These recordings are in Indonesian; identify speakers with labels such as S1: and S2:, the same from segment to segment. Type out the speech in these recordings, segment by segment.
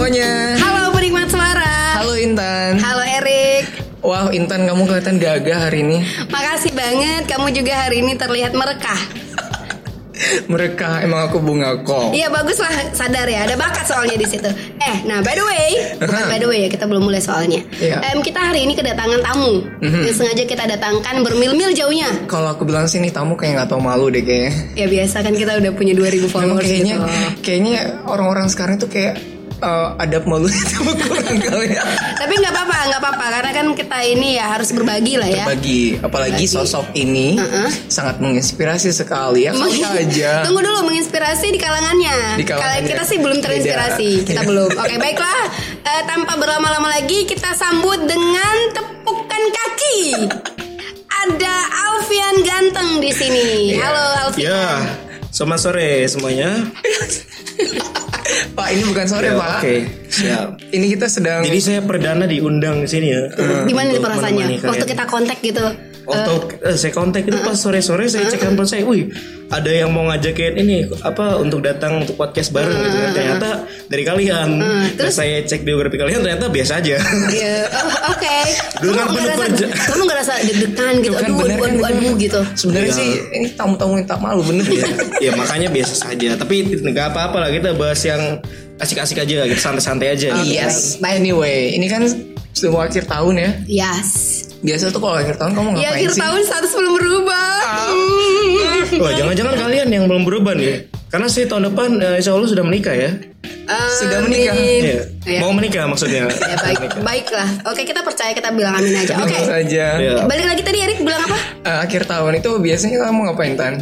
S1: Halo penikmat suara.
S2: Halo Intan.
S1: Halo Erik.
S2: Wah Intan kamu kelihatan gagah hari ini.
S1: Makasih banget kamu juga hari ini terlihat merekah.
S2: Mereka emang aku bunga kok.
S1: Iya baguslah sadar ya. Ada bakat soalnya di situ. Eh, nah by the way, bukan by the way ya kita belum mulai soalnya.
S2: Iya. Mhm.
S1: Em, kita hari ini kedatangan tamu. Yang sengaja kita datangkan bermil-mil jauhnya.
S2: Kalau aku bilang sih nih tamu kayak nggak tau malu deh kayaknya.
S1: Ya biasa kan kita udah punya 2000
S2: Memang
S1: followers
S2: kayaknya
S1: gitu.
S2: kayaknya orang-orang sekarang tuh kayak eh, adab malu itu kurang kali ya.
S1: Tapi nggak apa-apa, nggak apa-apa karena kan kita ini ya harus berbagi lah ya.
S2: Bagi apalagi
S1: Berbagi.
S2: sosok ini
S1: Uh-uh.
S2: sangat menginspirasi sekali ya.
S1: Meng-
S2: Santai aja.
S1: Tunggu dulu menginspirasi di kalangannya.
S2: Di kalangannya. Iya.
S1: Kalau kita sih belum terinspirasi,
S2: Tidak.
S1: kita belum. Oke, baiklah. Eh, tanpa berlama-lama lagi kita sambut dengan tepukan kaki. Ada Alfian ganteng di sini.
S2: Iya.
S1: Halo Alfian.
S3: Ya, selamat sore semuanya.
S2: Pak ini bukan sore
S3: Ya,
S2: Pak.
S3: Oke, siap.
S2: Ini kita sedang
S3: Jadi saya perdana diundang di sini ya.
S1: Gimana nih
S3: Untuk
S1: perasaannya?
S3: menemani
S1: Waktu
S3: kalian.
S1: kita kontak gitu.
S3: Waktu eh, saya kontak itu pas sore-sore
S1: Eh.
S3: saya cek handphone saya, wih ada yang mau ngajakin ini apa untuk datang untuk podcast bareng gitu
S1: Eh.
S3: kan. Ternyata dari kalian. Terus saya cek biografi kalian ternyata biasa aja.
S1: Iya. Oh, Oke.
S3: Dulu
S1: Kamu
S3: kan
S1: nggak
S3: penuh
S1: rasa,
S3: kerja.
S1: kamu nggak rasa deg-degan gitu?
S2: Tuh kan,
S1: Aduh,
S2: bener
S1: aduh,
S2: kan,
S1: aduh, aduh, gitu.
S2: sebenarnya
S3: Iya.
S2: sih ini tamu-tamu yang tak malu bener ya.
S3: ya makanya biasa saja. Tapi nggak apa-apa lah kita bahas yang asik-asik aja, gitu, santai-santai aja.
S1: Iya.
S2: Yes. Iya Nah, Anyway, ini kan semua akhir tahun ya.
S1: Yes.
S2: Biasa tuh kalau akhir tahun kamu ngapain
S1: Ya akhir
S2: sih? Ah.
S1: tahun status belum berubah. Hmm.
S3: Wah, jangan-jangan kalian yang belum berubah nih. Karena saya tahun depan eh, insya Allah sudah menikah ya.
S1: Eh,
S2: Sudah menikah.
S1: Amin.
S3: Iya.
S1: Iya.
S3: Mau menikah maksudnya.
S1: Ya, baik, baiklah. Oke, kita percaya kita bilang amin aja. Oke.
S2: Tentu saja.
S3: Ya.
S1: Balik lagi tadi Erik bilang apa?
S2: Eh, akhir tahun itu biasanya kamu ngapain tan?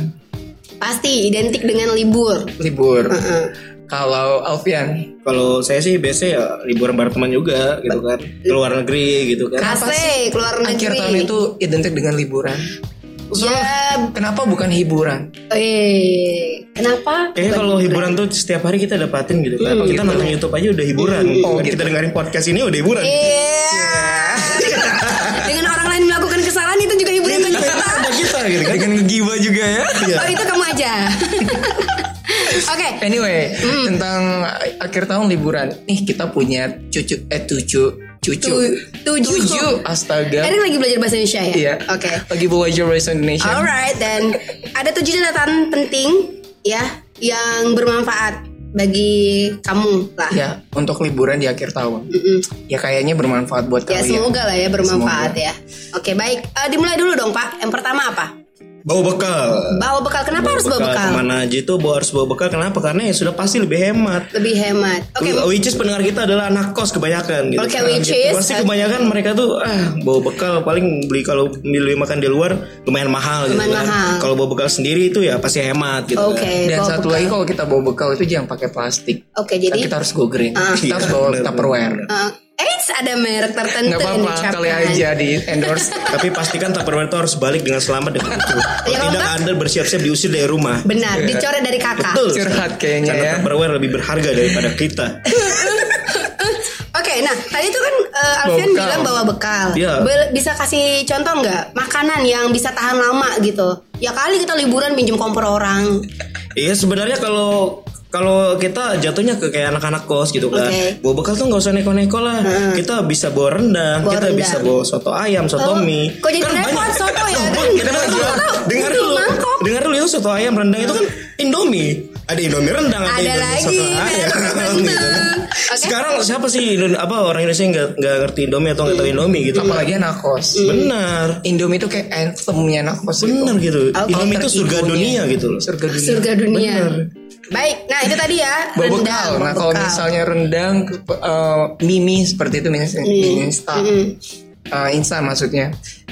S1: Pasti identik dengan libur.
S2: Libur.
S1: Hmm.
S2: Kalau Alfian,
S3: Kalau saya sih biasanya ya liburan bareng teman juga gitu kan. Keluar negeri gitu kan.
S1: Asik, keluar negeri.
S2: akhir tahun itu identik dengan liburan.
S1: Ya,
S2: Kenapa bukan hiburan?
S1: eh, kenapa?
S3: Kayaknya kalau hiburan tuh setiap hari kita dapatin gitu Iya. kan. Kita nonton YouTube aja udah hiburan.
S2: Oh,
S3: Kita dengerin podcast ini udah hiburan.
S1: Iya. dengan orang lain melakukan kesalahan itu juga hiburan
S2: Iya.
S1: bagi kita.
S3: Ada kita gitu kan.
S2: Dengan giba juga ya.
S3: Iya.
S1: Oh, itu kamu aja. Oke.
S2: Anyway,
S1: Hmm.
S2: tentang akhir tahun liburan. Nih kita punya cucu eh cucu cucu.
S1: Tu- tujuh.
S2: Tujuh, Astaga.
S1: Erik lagi belajar bahasa Indonesia ya?
S2: Iya.
S1: Oke.
S2: Lagi belajar bahasa Indonesia.
S1: Alright, dan ada tujuh catatan penting ya yang bermanfaat bagi kamu lah. Ya,
S2: Ya, untuk liburan di akhir tahun. Ya kayaknya bermanfaat buat
S1: ya
S2: kalian.
S1: semoga lah ya bermanfaat ya. Oke baik, Eh, dimulai dulu dong Pak. Yang pertama apa?
S3: Bawa bekal.
S1: Bawa bekal. Kenapa harus bawa bekal?
S3: kemana aja itu bawa harus bawa bekal kenapa? Karena ya sudah pasti lebih hemat.
S1: Lebih hemat. Oke.
S3: Which is pendengar kita adalah anak kos kebanyakan gitu.
S1: Oke,
S3: kan,
S1: which is-
S3: gitu. pasti kebanyakan mereka tuh ah bawa bekal paling beli kalau beli makan di luar lumayan mahal gitu.
S1: Lumayan
S3: kan.
S1: mahal. Oh.
S3: Kalau bawa bekal sendiri itu ya pasti hemat gitu.
S1: Oke.
S3: kan.
S2: Dan
S1: bawa
S2: satu
S1: bekal.
S2: lagi kalau kita bawa bekal itu jangan pakai plastik.
S1: Oke
S2: Kan
S1: jadi. Ah.
S2: kita harus go green. kita
S3: Iya,
S2: harus bawa
S3: bener,
S2: Tupperware.
S1: eh, eits, ada merek tertentu
S2: Nggak
S1: yang
S2: apa-apa,
S1: dicapkan.
S2: kali aja di endorse.
S3: Tapi pastikan Tupperware itu harus balik dengan selamat dengan itu.
S1: Ya,
S3: Kalau
S1: kalau
S3: tidak
S1: enggak- Ah.
S3: Anda bersiap-siap diusir dari rumah.
S1: Benar, dicoret dari kakak.
S3: Betul.
S2: Curhat kayaknya
S3: Karena
S2: ya.
S3: Tupperware lebih berharga daripada kita.
S1: Oke, nah tadi itu kan eh, Alfian
S2: bekal.
S1: bilang bawa bekal.
S3: Iya.
S1: Be- bisa kasih contoh nggak makanan yang bisa tahan lama gitu? Ya kali kita liburan pinjem kompor orang.
S3: Iya sebenarnya kalau kalau kita jatuhnya ke kayak anak-anak kos gitu kan.
S1: Oke.
S3: Bawa bekal tuh nggak usah neko-neko lah. Kita bisa bawa rendang,
S1: Bawa
S3: kita
S1: rendang.
S3: bisa bawa soto ayam, soto
S1: Oh,
S3: mie.
S1: kok
S3: Kan
S1: jadi repot
S3: banyak-
S1: soto ya?
S3: Oh,
S1: Kan
S3: kita
S1: mangkok,
S3: jual-
S1: tahu.
S3: Dengar
S1: Itu
S3: dulu.
S1: mangkok.
S3: Dengar dulu itu soto ayam rendang itu kan Indomie. Ada Indomie rendang, ada,
S1: Ada
S3: Indomie
S1: lagi,
S3: soto
S1: merek
S3: ayam.
S1: tertentu.
S3: gitu.
S1: Oke.
S3: Sekarang siapa sih Indo- apa orang Indonesia yang nggak nggak ngerti Indomie atau nggak tahu Indomie gitu?
S1: Hmm.
S2: Apalagi anak kos.
S1: Mm.
S3: Benar.
S2: Indomie itu kayak anthemnya anak kos. gitu.
S3: Benar gitu.
S1: Oke.
S3: Indomie itu surga
S1: ya.
S2: Ibunya.
S3: dunia gitu loh.
S2: Surga dunia.
S1: Surga dunia.
S3: Benar.
S1: Baik, nah itu tadi ya
S2: Bawa
S1: rendang,
S2: bekal.
S1: bawa
S2: Nah kalau
S1: bekal.
S2: misalnya rendang, ke- eh, mimi seperti itu misalnya mie instan. Eh, instan maksudnya.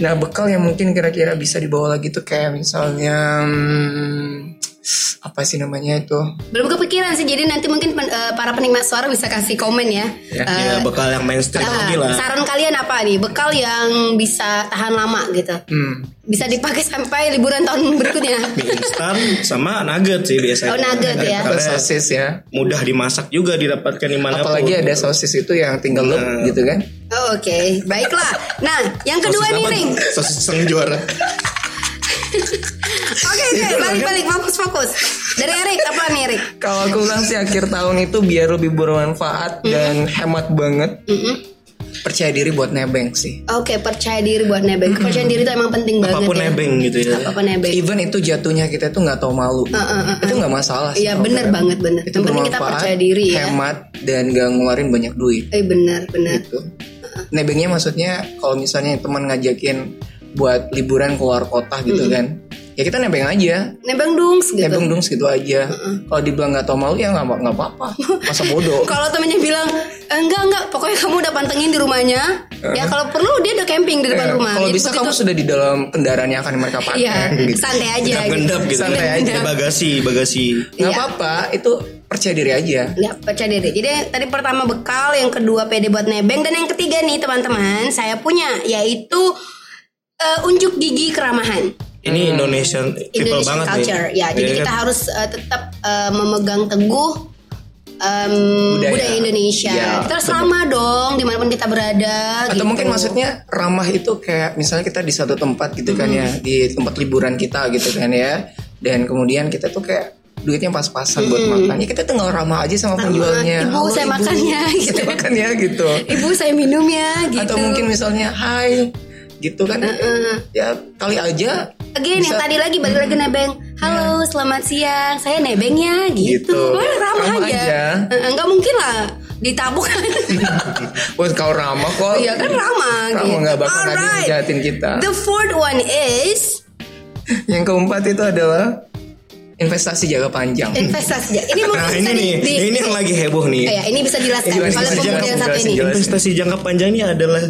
S2: Nah bekal yang mungkin kira-kira bisa dibawa lagi tuh kayak misalnya hmm, apa sih namanya itu?
S1: belum kepikiran sih, jadi nanti mungkin pen- eh, para penikmat suara bisa kasih komen ya. Eh,
S3: Ya bekal yang mainstream
S1: ah,
S3: lagi lah.
S1: saran kalian apa nih? Bekal yang bisa tahan lama gitu,
S2: Hmm,
S1: bisa dipakai sampai liburan tahun berikutnya.
S3: mie instan sama nugget sih biasanya.
S1: Oh, nugget ya.
S2: ada
S3: Karena
S2: sosis ya.
S3: mudah dimasak juga didapatkan di mana
S2: Apalagi ada sosis itu yang tinggal lep gitu kan?
S1: Oh, Oke, baiklah. Nah, yang kedua nih, Ring.
S3: Sosis sang juara.
S1: Oke oke
S2: Iya.
S1: balik balik fokus fokus. Dari Erik apa nih Erik?
S2: Kalau aku bilang sih akhir tahun itu biar lebih bermanfaat dan hemat banget.
S1: Mm-mm.
S2: Percaya diri buat nebeng sih.
S1: Oke percaya diri buat nebeng. Kepercayaan diri itu emang penting banget.
S3: apapun
S1: ya.
S3: nebeng gitu ya
S1: Apapun nebeng.
S2: Even itu jatuhnya kita tuh nggak tahu malu.
S1: uh, uh.
S2: Itu nggak masalah sih.
S1: Iya
S2: kalau
S1: bener
S2: menurut
S1: banget bener.
S2: aku.
S1: Yang penting kita
S2: bermanfaat,
S1: percaya diri ya.
S2: Hemat dan gak ngeluarin banyak duit.
S1: Eh benar benar.
S2: gitu. Nebengnya maksudnya kalau misalnya teman ngajakin buat liburan keluar kota gitu
S1: Hmm.
S2: kan. Ya kita nebeng aja.
S1: Nebeng dungs gitu.
S2: Nebeng Ya, dong segitu aja. Kalau dibilang nggak tau malu ya nggak nggak apa-apa. Masa bodoh.
S1: Kalau temennya bilang "Eh, enggak enggak, pokoknya kamu udah pantengin di rumahnya. Ya kalau perlu dia udah camping di depan
S2: Ya,
S1: rumah.
S2: Kalau
S1: Jadi
S2: bisa kamu
S1: begitu-
S2: sudah di dalam kendaraan yang akan mereka pakai.
S1: Iya,
S2: gitu.
S1: santai aja.
S3: gendap
S1: gitu.
S3: gitu
S2: Santai aja.
S3: Di bagasi bagasi
S2: Nggak
S1: iya.
S2: apa-apa, itu percaya diri aja.
S1: Ya, percaya diri. Jadi tadi pertama bekal, yang kedua pede buat nebeng dan yang ketiga nih teman-teman, saya punya yaitu eh, unjuk gigi keramahan.
S3: ini Indonesian people
S1: Hmm. Indonesian
S3: banget
S1: culture.
S3: nih
S1: Ya, jadi
S3: Iya
S1: kita
S3: kan?
S1: harus eh, tetap eh, memegang teguh em, budaya.
S2: Budaya.
S1: Indonesia.
S2: Ya,
S1: kita harus ramah dong dimanapun kita berada.
S2: Atau
S1: gitu.
S2: mungkin maksudnya ramah itu kayak misalnya kita di satu tempat gitu kan ya,
S1: Mm-hmm.
S2: di tempat liburan kita gitu kan ya. Dan kemudian kita tuh kayak duitnya pas-pasan buat makan. Ya kita tinggal ramah aja sama penjualnya.
S1: Mm-hmm. Ibu, saya makan ya, gitu.
S2: Saya makan ya gitu.
S1: Ibu saya minum ya gitu.
S2: Atau mungkin misalnya hai gitu kan. Ya kali aja
S1: Again yang tadi lagi balik lagi nebeng. Halo, selamat siang. Saya nebeng ya gitu.
S2: Gitu.
S1: Wah, ramah,
S2: Ramah
S1: aja.
S2: aja.
S1: Eh, Enggak mungkin lah ditabuk kan.
S2: Wah kau ramah kok.
S1: Iya kan ramah
S2: Ramah
S1: gitu.
S2: nggak bakal iya. ada yang
S1: Alright.
S2: jahatin kita.
S1: The fourth one is
S2: Yang keempat itu adalah investasi jaga panjang.
S1: Eh. investasi. Ini mungkin
S3: nah
S1: bisa
S3: ini
S1: di-
S3: nih
S1: di-
S3: ini yang lagi heboh nih
S1: Kayak ini bisa dijelaskan
S2: Ini
S1: oleh
S2: bisa dijelaskan,
S1: pemuda yang satu
S2: jelasin,
S1: ini.
S2: jelasin.
S3: investasi jangka panjang ini adalah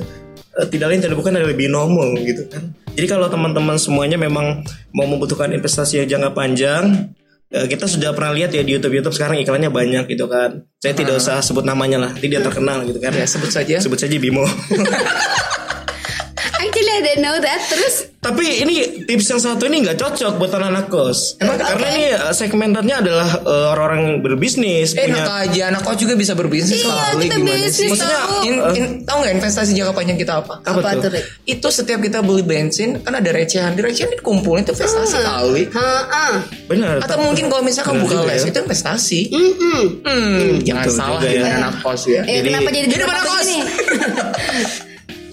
S3: eh, tidak lain tidak bukan adalah binomo gitu kan. Jadi kalau teman-teman semuanya memang mau membutuhkan investasi yang jangka panjang, eh, kita sudah pernah lihat ya di YouTube YouTube sekarang iklannya banyak gitu kan. Saya tidak usah sebut namanya lah, nanti dia terkenal gitu kan.
S2: Ah. Ya sebut saja.
S3: Sebut saja Bimo.
S1: Actually I didn't know that. Terus
S3: Tapi ini tips yang satu ini nggak cocok buat anak-anak kos.
S2: Emang
S3: karena ini eh, segmentannya adalah eh, orang-orang yang berbisnis
S2: Eh
S3: punya
S2: nakal aja, anak kau juga bisa berbisnis
S1: Iya,
S2: kali
S1: kita
S2: gimana
S1: bisnis
S2: sih? Maksudnya,
S1: tahu.
S2: in,
S3: Eh.
S2: in, tahu nggak investasi jangka panjang kita apa?
S1: apa, tuh? Rick?
S2: Itu setiap kita beli bensin kan ada recehan, di recehan dikumpulin itu investasi
S1: Hmm.
S2: kali.
S1: Heeh.
S3: benar.
S2: Atau mungkin kalau misalnya kamu buka
S3: juga
S2: les
S3: ya.
S2: itu investasi.
S1: Mm-mm.
S2: Hmm, jangan
S3: Betul
S2: salah
S3: juga ya.
S2: ya. anak kos ya.
S1: Eh,
S3: Jadi-
S1: kenapa jadi
S2: Jadi
S1: tempat
S2: mana kos?
S1: begini?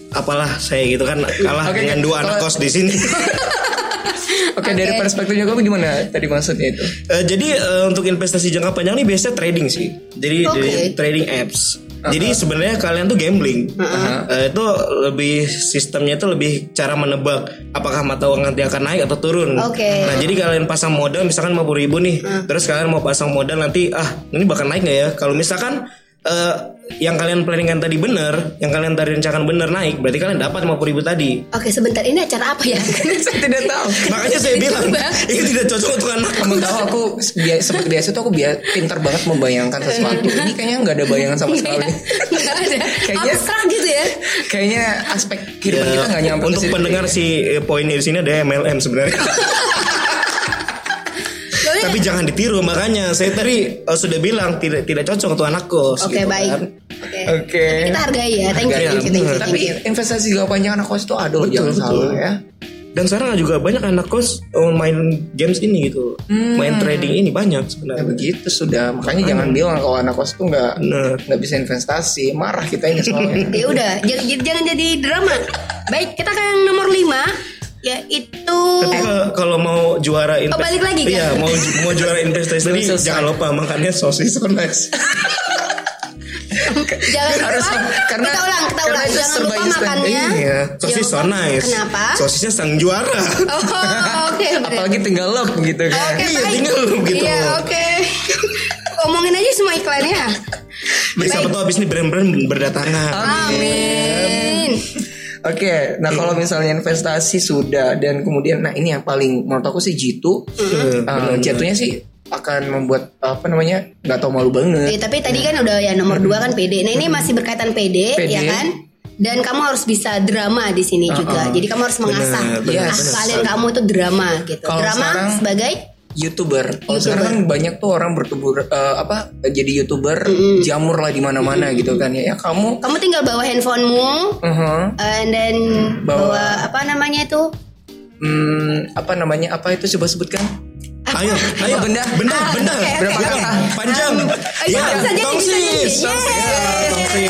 S3: apalah saya gitu kan kalah
S2: Oke,
S3: dengan
S2: oke.
S3: dua anak
S2: Kalau-
S3: kos di sini.
S2: Oke, dari
S1: Oke.
S2: perspektifnya kamu gimana tadi maksudnya itu?
S3: Eh, jadi eh, untuk investasi jangka panjang ini biasanya trading sih. Jadi
S1: Oke.
S3: jadi trading apps. Jadi sebenarnya kalian tuh gambling. Eh, itu lebih sistemnya itu lebih cara menebak apakah mata uang nanti akan naik atau turun.
S1: Oke.
S3: Nah jadi kalian pasang modal misalkan 50 ribu nih. Terus kalian mau pasang modal nanti ah ini bakal naik nggak ya? Kalau misalkan eh, yang kalian planningkan tadi bener, yang kalian tadi rencanakan bener naik, berarti kalian dapat 50 ribu tadi.
S1: Oke, sebentar ini acara apa ya?
S2: Saya tidak tahu.
S3: Makanya saya bilang ini tidak cocok untuk anak.
S2: Kamu tahu aku bia- seperti biasa tuh aku bia- pintar banget membayangkan sesuatu. Ini kayaknya nggak ada bayangan sama sekali.
S1: Enggak ada.
S2: Kayaknya-
S1: Abstrak gitu ya.
S2: Kayaknya aspek kehidupan kita nggak nyampe ke
S3: Iya, Ya, Untuk
S2: situ.
S3: pendengar si eh, poinnya di sini ada MLM sebenarnya.
S1: Yaudah.
S3: Tapi jangan ditiru makanya saya tadi eh, sudah bilang tidak tidak cocok untuk anak kos.
S1: Oke,
S3: gitu
S1: baik.
S3: kan.
S1: Oke.
S2: Oke.
S1: Kita hargai ya. Thank you,
S2: Hargai.
S1: thank
S3: Iya,
S1: you, thank you, thank
S2: Tapi
S1: you.
S2: investasi jangka panjang anak kos itu ada loh jangan salah ya.
S3: Dan sekarang juga banyak anak kos eh, main games ini gitu, main trading ini banyak
S2: Ya
S3: sebenarnya.
S2: begitu sudah. Makanya jangan bilang kalau anak kos tuh nggak
S3: Bener.
S2: nggak bisa investasi. Marah kita ini soalnya.
S1: Ya udah, jangan, jangan jadi drama. Baik, kita ke yang nomor 5 yaitu
S3: Tapi ke- kalau mau juara investasi,
S1: balik lagi kan?
S3: iya mau ju- mau juara investasi tadi
S2: Belum selesai.
S3: jangan lupa makannya sosis
S2: Sebenarnya.
S1: jangan
S2: harus-
S1: lupa
S2: karena-
S1: kita ulang, kita
S2: karena
S1: ulang.
S2: itu
S1: Jangan lupa
S2: serba instan.
S1: makannya. Ya
S3: Iya, sosis so
S1: Jangan lupa-
S3: nice.
S1: Kenapa?
S3: Sosisnya sang juara.
S1: Oh, oke. bener.
S2: Apalagi tinggal lep gitu kan.
S1: Oke,
S3: Iya,
S1: baik.
S3: tinggal gitu.
S1: Iya, oke. Omongin aja semua iklannya.
S3: Jadi siapa tahu abis ini brand-brand berdatangan.
S1: Ah. Amin.
S2: Oke, nah kalau misalnya investasi sudah dan kemudian nah ini yang paling menurut aku sih jitu
S3: Eh,
S2: eh, jatuhnya sih akan membuat apa namanya nggak tahu malu banget.
S1: Eh, tapi tadi kan udah ya nomor dua kan PD. Nah, ini masih berkaitan PD,
S2: PD.
S1: ya kan? Dan kamu harus bisa drama di sini juga. Jadi kamu harus mengasah
S3: bener,
S1: ah,
S2: bener.
S1: kalian kamu tuh drama gitu.
S2: Kalau
S1: drama
S2: sekarang-
S1: sebagai
S2: YouTuber.
S3: Oh,
S2: Kalau sekarang kan banyak tuh orang bertubur eh, apa jadi YouTuber jamur lah di mana-mana gitu kan ya. Ya kamu
S1: kamu tinggal bawa handphonemu
S2: uh-huh,
S1: and then bawa,
S2: Bawa-
S1: apa namanya itu?
S2: hmm, apa namanya apa itu coba sebutkan
S3: Ayo, ayo
S2: Benda.
S3: benda,
S1: Ah,
S3: benda,
S1: oke, oke,
S3: berapa
S1: oke.
S3: kata? Panjang.
S1: Um, eh,
S3: Ya,
S1: bisa jadi, bisa
S3: tongsis,
S1: jadi.
S3: tongsis,
S1: Yeay.
S3: ya, tongsis.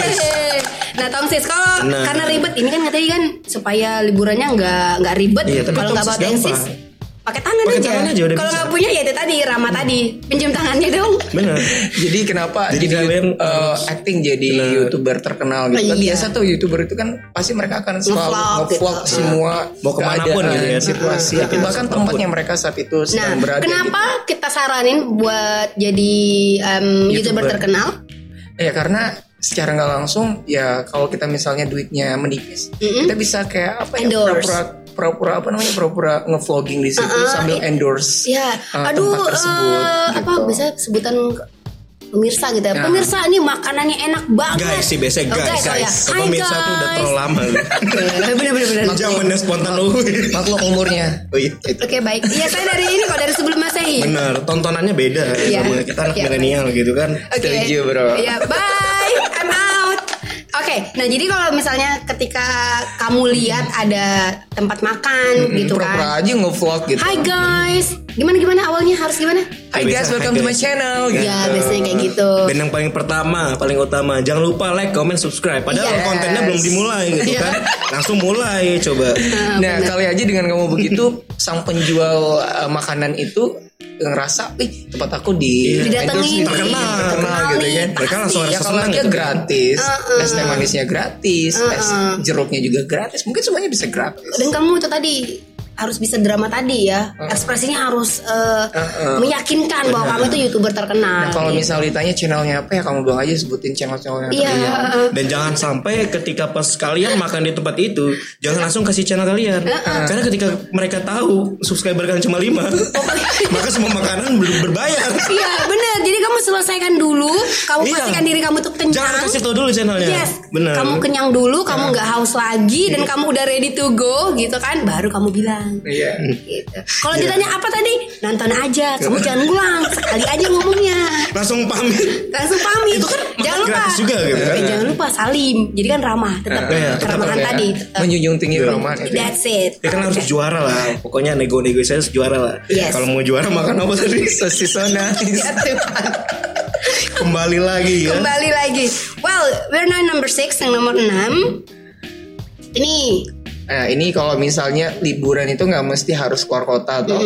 S1: Nah, tongsis kalau
S3: Nah.
S1: karena ribet ini kan katanya kan supaya liburannya nggak nggak ribet.
S3: Iya, tapi
S1: kalau nggak bawa
S3: tongsis
S1: tensis,
S3: gampang.
S1: pakai tangan
S3: Pakai
S1: aja.
S3: tangan aja
S1: Kalau
S3: udah bisa. Iya.
S1: nggak punya ya itu tadi Rama tadi pinjam tangannya dong.
S3: Benar.
S2: jadi kenapa
S3: Jadi
S2: jadi,
S3: kalian
S2: eh, acting jadi youtuber terkenal gitu kan
S1: Iya.
S2: biasa tuh youtuber itu kan pasti mereka akan selalu
S1: Ngevlog
S2: ngevlog
S1: gitu.
S2: semua
S3: Mau kemana pun
S2: keadaan,
S3: gitu ya.
S2: situasi
S3: Heeh.
S2: atau bahkan tempatnya mereka saat itu
S1: Nah,
S2: sedang berada
S1: kenapa kita saranin buat jadi em, youtuber terkenal?
S2: Ya karena secara nggak langsung ya kalau kita misalnya duitnya menipis, kita bisa kayak apa ya
S1: Endorse.
S2: pura-pura pura-pura apa namanya pura-pura ngevlogging di situ sambil endorse.
S1: Uh-uh. Ya,
S2: Ah,
S1: aduh,
S2: tempat tersebut,
S1: eh, apa
S2: gitu.
S1: bisa sebutan pemirsa gitu ya. Pemirsa ini makanannya enak banget.
S3: Guys, sih biasanya
S1: Oh,
S3: guys, guys.
S1: oh ya.
S3: Kalau
S1: Hai,
S3: Pemirsa tuh udah
S1: guys.
S3: terlalu lama.
S1: Bener-bener.
S3: Jawabannya spontan lu.
S2: Maklum umurnya.
S3: Oh iya.
S1: Oke baik. Iya saya dari ini kok dari sebelum masehi.
S3: Benar, tontonannya beda
S1: Iya.
S3: sama kita anak
S1: Iya.
S3: milenial gitu kan.
S1: Oke.
S2: Setuju, bro.
S1: Iya, bye. I'm out. Oke, nah jadi kalau misalnya ketika kamu lihat ada tempat makan gitu kan.
S2: Pura-pura aja ngevlog gitu.
S1: Hi guys. Gimana gimana awalnya harus gimana?
S2: Hi guys,
S3: Biasa,
S2: welcome
S3: hi
S2: to my
S3: guys.
S2: channel.
S1: Iya,
S2: gitu.
S1: biasanya kayak gitu.
S3: Dan yang paling pertama, paling utama, jangan lupa like, comment, subscribe. Padahal
S1: Yes.
S3: kontennya belum dimulai gitu
S1: Iya.
S3: kan. Langsung mulai coba.
S2: Nah kali aja dengan kamu begitu sang penjual eh, makanan itu ngerasa, ih tempat aku di
S1: Didatengin,
S2: endorse nih,
S1: terkenal,
S2: terkenal gitu
S1: terkenalin,
S2: kan.
S3: Mereka langsung
S2: Ya
S3: rasa
S2: kalau
S3: senang
S2: dia
S3: gitu.
S2: gratis, es teh manisnya gratis, es jeruknya juga gratis, mungkin semuanya bisa gratis.
S1: Dan kamu itu tadi harus bisa drama tadi ya. Ekspresinya harus eh, meyakinkan bahwa kamu itu YouTuber
S2: Nah,
S1: terkenal.
S2: kalau misal ditanya channelnya apa ya kamu bilang aja sebutin channel-channelnya.
S1: Iya. heeh.
S3: Dan jangan sampai ketika pas kalian makan di tempat itu, jangan langsung kasih channel kalian. Karena ketika mereka tahu subscriber kalian
S1: Oh.
S3: cuma 5, maka semua makanan belum berbayar.
S1: Iya bener Jadi kamu selesaikan dulu Kamu
S3: Iya.
S1: pastikan diri kamu tuh kenyang
S3: Jangan kasih tahu dulu channelnya.
S1: Yes
S3: Benar. Iya.
S1: Kamu kenyang dulu Kamu nggak haus lagi Dan kamu udah ready to go Gitu kan Baru kamu bilang
S2: Iya.
S1: gitu. Kalau
S3: Iya.
S1: ditanya apa tadi Nonton aja Kamu jangan ngulang Sekali aja ngomongnya
S3: langsung pamit.
S1: Langsung pamit
S3: Itu kan
S1: Jangan lupa
S3: gratis juga gitu kan.
S1: Eh, Jangan lupa salim Jadi kan ramah Tetap
S3: Iya, tetap
S1: Keramahan
S2: Iya.
S1: tadi tetap.
S2: Menjunjung tinggi gitu. Ramahan.
S1: That's it
S3: Ya kan harus juara lah. Pokoknya nego-nego saya harus juara lah.
S1: Yes. Iya,
S3: Kalau mau juara makan apa tadi?
S2: Sosis so nice.
S3: Kembali lagi ya.
S1: Kembali lagi Well We're now number six Yang nomor enam Ini
S2: Nah, ini kalau misalnya liburan itu nggak mesti harus keluar kota atau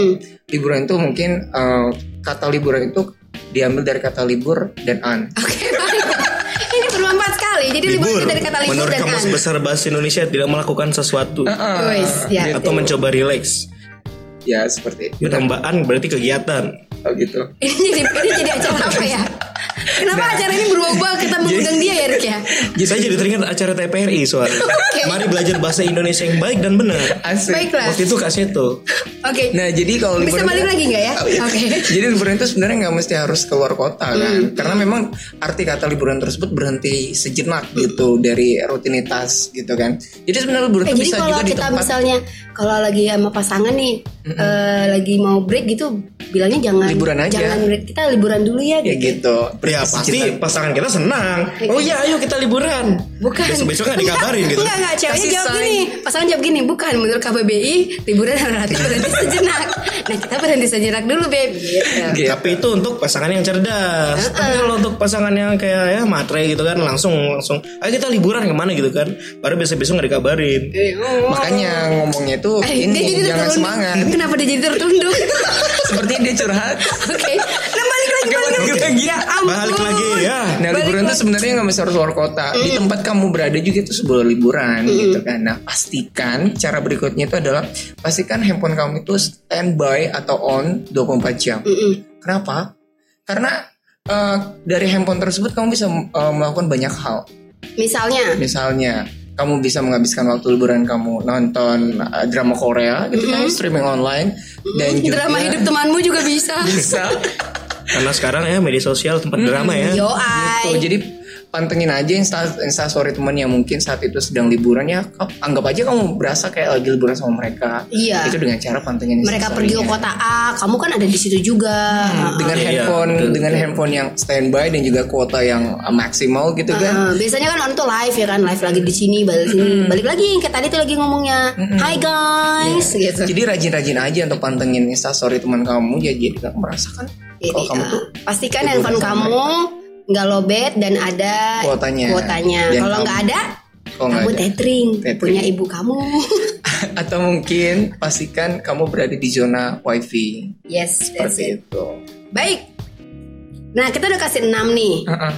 S2: liburan itu mungkin eh, kata liburan itu diambil dari kata libur dan an.
S1: Oke, baik. Ini bermanfaat sekali. Jadi libur, itu dari kata libur
S3: Menurut
S1: dan kan.
S3: Kamus
S1: an.
S3: Besar Bahasa Indonesia tidak melakukan sesuatu
S1: Wes, ya.
S3: atau mencoba relax.
S2: Ya seperti itu.
S3: Pertambahan berarti kegiatan.
S2: Oh, gitu.
S1: Ini jadi ini jadi acara apa
S3: Iya.
S1: ya? Kenapa
S3: Nah.
S1: acara ini berubah-ubah kita mengundang dia ya, Rik ya?
S3: Jadi saya jadi teringat acara TPRI soalnya. Mari belajar bahasa Indonesia yang baik dan benar.
S2: Asik.
S1: Baiklah.
S3: Waktu itu kasih tuh.
S1: Oke.
S2: Nah, jadi kalau
S1: Bisa
S2: liburan
S1: balik lagi nggak ya?
S3: Iya.
S1: Oke.
S2: Jadi liburan itu sebenarnya nggak mesti harus keluar kota kan,
S1: Hmm.
S2: karena memang arti kata liburan tersebut berhenti sejenak gitu dari rutinitas gitu kan. Jadi sebenarnya liburan
S1: Eh,
S2: itu
S1: jadi
S2: bisa
S1: kalau
S2: juga gitu di
S1: kita
S2: tempat.
S1: misalnya kalau lagi sama pasangan nih eh, lagi mau break gitu bilangnya jangan
S2: Liburan aja.
S1: Jangan break, kita liburan dulu ya
S2: Ya
S1: gitu.
S2: gitu.
S3: Ya pasti pasangan kita senang. Oh iya ayo kita liburan.
S1: Bukan.
S3: Besok-besok nggak dikabarin gitu.
S1: Enggak, enggak.
S2: kan
S1: Ceweknya
S2: Kasih
S1: jawab
S2: sign.
S1: gini. Pasangan jawab gini. Bukan, menurut KBBI, liburan relatif berhenti sejenak. Nah, kita berhenti sejenak dulu, Beb. Gitu.
S2: Gitu.
S3: Tapi itu untuk pasangan yang cerdas. Tapi kalau untuk pasangan yang kayak ya matre gitu kan langsung langsung ayo kita liburan kemana gitu kan. Baru besok-besok nggak dikabarin.
S2: Eh, Makanya ngomongnya itu
S1: Oh, Eh,
S2: ini
S1: dia jadi
S2: jangan
S1: tertunduk.
S2: semangat.
S1: Kenapa dia jadi tertunduk?
S2: Sepertinya dia curhat.
S1: Oke. Nah, balik lagi,
S2: Oke,
S1: balik
S2: balik
S1: lagi.
S2: lagi.
S1: Ya ampun.
S3: Balik lagi
S2: Nah
S3: ya.
S1: Balik
S2: liburan itu
S1: lagi. Hmm.
S2: sebenarnya nggak mesti harus keluar kota. Di tempat kamu berada juga itu sebuah liburan gitu kan. Nah pastikan cara berikutnya itu adalah pastikan handphone kamu itu standby atau on 24 jam. Kenapa? Karena eh, dari handphone tersebut kamu bisa eh, melakukan banyak hal.
S1: Misalnya.
S2: Misalnya kamu bisa menghabiskan waktu liburan kamu nonton eh, drama Korea gitu kan streaming online dan juga
S1: Mm-hmm. Drama hidup temanmu juga bisa.
S2: bisa
S1: Hmm.
S3: Karena sekarang ya media sosial tempat drama ya.
S1: Yo,
S2: Tuh,
S1: ai.
S2: jadi pantengin aja insta insta story temen yang mungkin saat itu sedang liburan ya anggap aja kamu berasa kayak lagi liburan sama mereka
S1: Iya.
S2: itu dengan cara pantengin
S1: mereka pergi ke
S2: instastory-nya.
S1: kota A kamu kan ada di situ juga
S2: dengan
S3: Iya,
S2: handphone
S3: betul,
S2: dengan handphone yang standby dan juga kuota yang uh, maksimal gitu kan
S1: Nah, biasanya kan orang tuh live ya kan live lagi di sini balik sini
S2: Hmm.
S1: balik lagi yang kayak tadi tuh lagi ngomongnya hi guys
S2: Iya,
S1: gitu
S2: Jadi rajin-rajin aja untuk pantengin instastory teman kamu ya jadi nggak merasakan kalau
S1: Jadi,
S2: kamu
S1: ah,
S2: tuh
S1: pastikan handphone kamu nggak lobet dan ada
S2: Kuotanya.
S1: kuotanya.
S2: Dan
S1: Kalau
S2: kamu-
S1: nggak ada,
S2: kalau nggak
S1: kamu
S2: ada.
S1: tethering,
S2: Tethering.
S1: punya ibu kamu.
S2: atau mungkin pastikan kamu berada di zona wifi
S1: yes, that's
S2: seperti
S1: it.
S2: itu.
S1: Baik. Nah, kita udah kasih 6 nih.
S2: Heeh.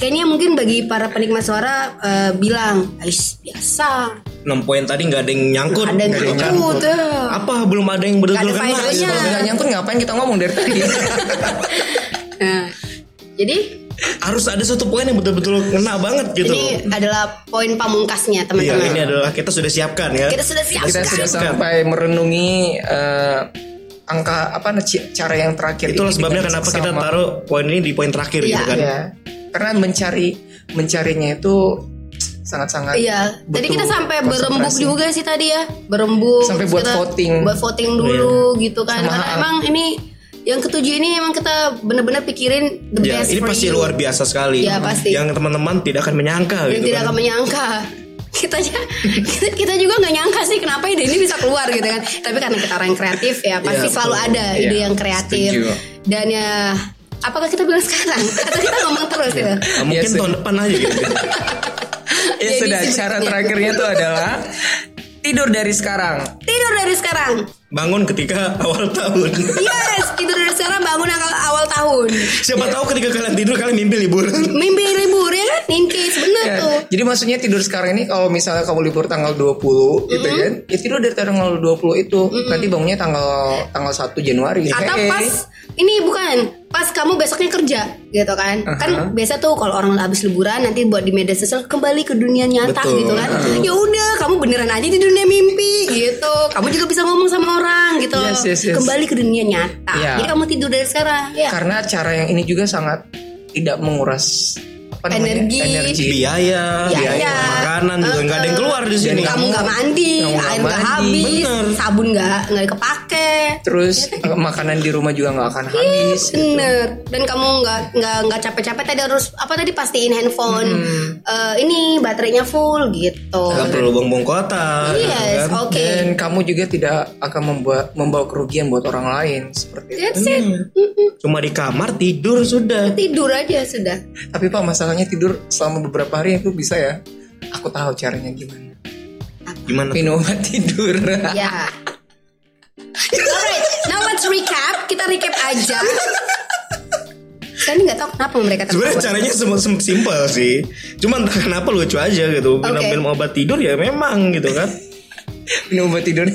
S1: Kayaknya mungkin bagi para penikmat suara eh, bilang, "Ais, biasa."
S3: 6 poin tadi nggak ada yang nyangkut.
S1: Ada yang
S2: nggak ada yang
S1: takut. eh.
S3: Apa belum ada yang
S1: Nggak ada
S3: benar-benar kena? gitu.
S1: faedahnya.
S2: Kalau nggak nyangkut ngapain kita ngomong dari tadi?
S1: Nah, jadi
S3: Harus ada satu poin yang betul-betul kena banget gitu.
S1: ini adalah poin pamungkasnya,
S3: Iya, ini
S1: teman-teman.
S3: adalah kita sudah siapkan ya.
S1: Kita sudah siap.
S2: Kita sudah sampai merenungi eh, angka apa c- cara yang terakhir. ini
S3: Itulah sebabnya
S2: dengan
S3: kenapa kita
S2: seksama.
S3: taruh poin ini di poin terakhir
S1: Iya.
S3: gitu kan.
S2: Iya. Karena mencari mencarinya itu sangat-sangat
S1: Iya, tadi
S2: butuh
S1: kita sampai berembuk
S2: konsentrasi.
S1: juga sih tadi ya, berembuk.
S2: Sampai
S1: terus
S2: buat
S1: kita
S2: voting.
S1: buat voting dulu gitu kan.
S2: Sama
S1: Karena
S2: hak.
S1: emang ini yang ketujuh ini emang kita bener-bener pikirin the
S3: Ya,
S1: best
S3: ini
S1: for
S3: pasti
S1: you.
S3: luar biasa sekali.
S1: Iya, pasti.
S3: Yang teman-teman tidak akan menyangka
S1: Yang
S3: gitu
S1: tidak
S3: kan.
S1: akan menyangka. Kita aja- kita, kita juga nggak nyangka sih kenapa ide ini bisa keluar gitu kan. Tapi karena kita orang yang kreatif ya, pasti
S3: Iya,
S1: selalu ada
S2: Iya,
S1: ide yang kreatif.
S2: setuju.
S1: Dan ya apakah kita bilang sekarang atau kita ngomong terus gitu.
S3: Nah, mungkin
S2: Iya, sih.
S3: tahun depan aja gitu.
S2: Ya
S1: Jadi
S2: sudah,
S1: sih
S2: cara
S1: bentuknya.
S2: terakhirnya itu adalah tidur dari sekarang.
S1: Tidur dari sekarang.
S3: Bangun ketika awal tahun.
S1: Yes, tidur dari sekarang bangun awal, awal tahun.
S3: Siapa tahu ketika kalian tidur kalian mimpi liburan.
S2: Iya.
S1: Mimpi libur ya kan? In case bener
S2: Ya,
S1: tuh.
S2: Jadi maksudnya tidur sekarang ini kalau misalnya kamu libur tanggal 20 gitu kan, ya tidur dari tanggal 20 itu. Nanti bangunnya tanggal tanggal 1 Januari.
S1: Atau
S2: Hey.
S1: pas ini bukan pas kamu besoknya kerja gitu kan? Kan biasa tuh kalau orang habis liburan nanti buat di media sosial kembali ke dunia nyata
S3: Betul.
S1: gitu kan. Ya udah, kamu beneran aja di dunia mimpi gitu. Kamu juga bisa ngomong sama orang gitu.
S2: Yes, yes, yes.
S1: Kembali ke dunia nyata.
S2: Iya.
S1: Jadi kamu tidur dari sekarang ya.
S2: Karena cara yang ini juga sangat tidak menguras apa namanya?
S1: Energi.
S2: energi.
S3: biaya,
S1: Biaya.
S3: makanan juga nggak ada yang keluar di sini.
S1: Iya, kamu nggak mandi,
S2: kamu nggak
S1: air nggak
S2: mandi.
S1: habis,
S3: Bener.
S1: sabun nggak nggak kepake.
S2: Terus
S1: Iya.
S2: eh, makanan di rumah juga nggak akan habis.
S1: Bener. Dan kamu nggak nggak nggak capek-capek tadi harus apa tadi pastiin handphone eh, ini baterainya full
S3: Nggak
S1: gitu.
S3: perlu buang-buang kota.
S1: Yes, oke.
S2: Dan kamu juga tidak akan membuat membawa kerugian buat orang lain seperti itu.
S1: That's it. Hmm,
S3: Cuma di kamar tidur sudah.
S1: Tidur aja sudah.
S2: Tapi Pak masalahnya tidur selama beberapa hari itu bisa ya. Aku tahu caranya gimana.
S3: Gimana?
S2: Minum obat tidur.
S1: Ya. Alright, now let's recap. Kita recap aja. Saya ini nggak tahu kenapa mereka
S3: Kan Sebenarnya
S1: tertawa.
S3: caranya semua sim- simpel sih. Cuman entah kenapa lucu aja gitu.
S1: Oke.
S3: Minum-minum obat tidur ya memang gitu kan.
S2: Minum obat tidur.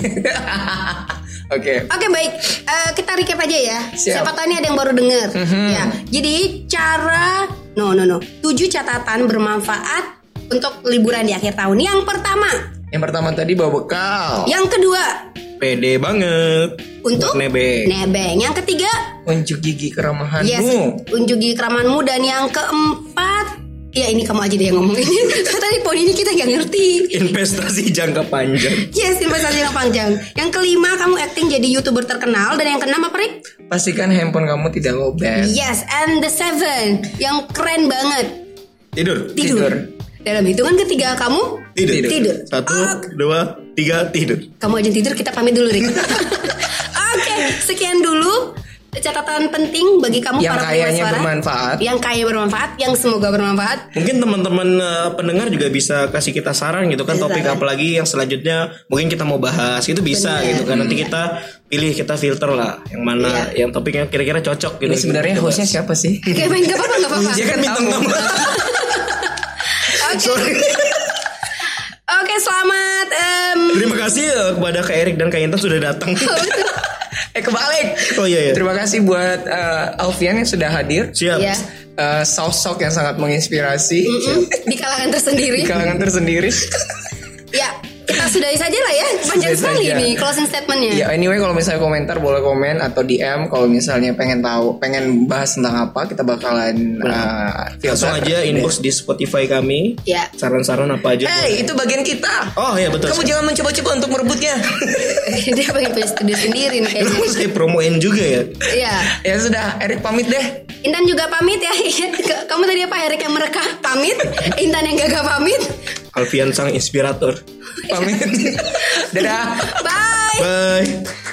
S2: Oke.
S1: Oke baik, Eh, kita recap aja ya.
S2: Siap.
S1: Siapa tahu ini ada yang baru dengar. Ya, jadi cara no no no tujuh catatan bermanfaat untuk liburan di akhir tahun. Yang pertama,
S2: Yang pertama tadi bawa bekal.
S1: yang kedua
S3: Pede banget.
S1: untuk
S3: Nebeng.
S1: nebeng. Yang ketiga,
S2: Unjuk gigi keramahanmu.
S1: yes, unjugi keramanmu dan yang keempat ya ini kamu aja deh yang ngomong ini. Tadi poin ini kita nggak ngerti.
S3: Investasi jangka panjang.
S1: Yes, investasi yang panjang. Yang kelima, kamu acting jadi youtuber terkenal dan yang keenam apa Rick?
S2: Pastikan handphone kamu tidak lowbat.
S1: Yes, and the seven yang keren banget.
S3: Tidur.
S1: tidur.
S2: Tidur.
S1: Dalam hitungan ketiga kamu
S3: Tidur.
S2: Tidur.
S1: Tidur.
S3: Satu, dua, tiga, tidur.
S1: kamu aja tidur kita pamit dulu Rick. Oke, sekian dulu catatan penting bagi kamu Iya.
S2: Yang
S1: para penerima
S2: kayanya
S1: suara.
S2: bermanfaat.
S1: Yang kaya bermanfaat, yang semoga bermanfaat.
S3: Mungkin teman-teman eh, pendengar juga bisa kasih kita saran gitu kan
S1: Kasih
S3: topik
S1: saran.
S3: apa lagi yang selanjutnya mungkin kita mau bahas itu bisa
S1: Bener.
S3: gitu kan nanti kita pilih kita filter lah yang mana yang topiknya kira-kira cocok gitu.
S2: Ini sebenarnya hostnya siapa sih?
S1: Oke, baik, nggak apa-apa, nggak apa-apa.
S2: Iya
S3: dia kan bintang tamu.
S1: Oke. Oke, selamat em,
S3: Terima kasih eh, kepada Kak Erik dan Kak Intan sudah datang.
S2: eh kebalik.
S3: Oh iya iya.
S2: Terima kasih buat eh, Alfian yang sudah hadir.
S3: Siap.
S1: ya,
S2: Eh, sosok yang sangat menginspirasi
S1: mm, di kalangan
S2: di
S1: tersendiri.
S2: kalangan tersendiri.
S1: Ya, kita sudahi saja lah ya
S2: Sudahi
S1: panjang sekali
S2: saja.
S1: ini closing statementnya
S2: Ya anyway kalau misalnya komentar boleh komen atau DM kalau misalnya pengen tahu pengen bahas tentang apa kita bakalan uh,
S3: Langsung
S2: filter.
S3: aja inbox di Spotify kami.
S1: Ya.
S3: Saran-saran apa aja.
S2: Iya. Hey itu bagian kita.
S3: Ya Oh ya betul.
S2: Kamu jangan mencoba-coba untuk merebutnya.
S1: dia pengen punya studio sendiri nih kayaknya
S3: Kamu saya promoin juga ya.
S1: Iya
S2: ya sudah, Erik pamit deh.
S1: Intan juga pamit ya Ke- kamu tadi apa Erik yang mereka pamit Intan yang gagah pamit
S3: Alfian sang inspirator.
S2: Pamit. Dadah.
S1: bye
S3: Bye.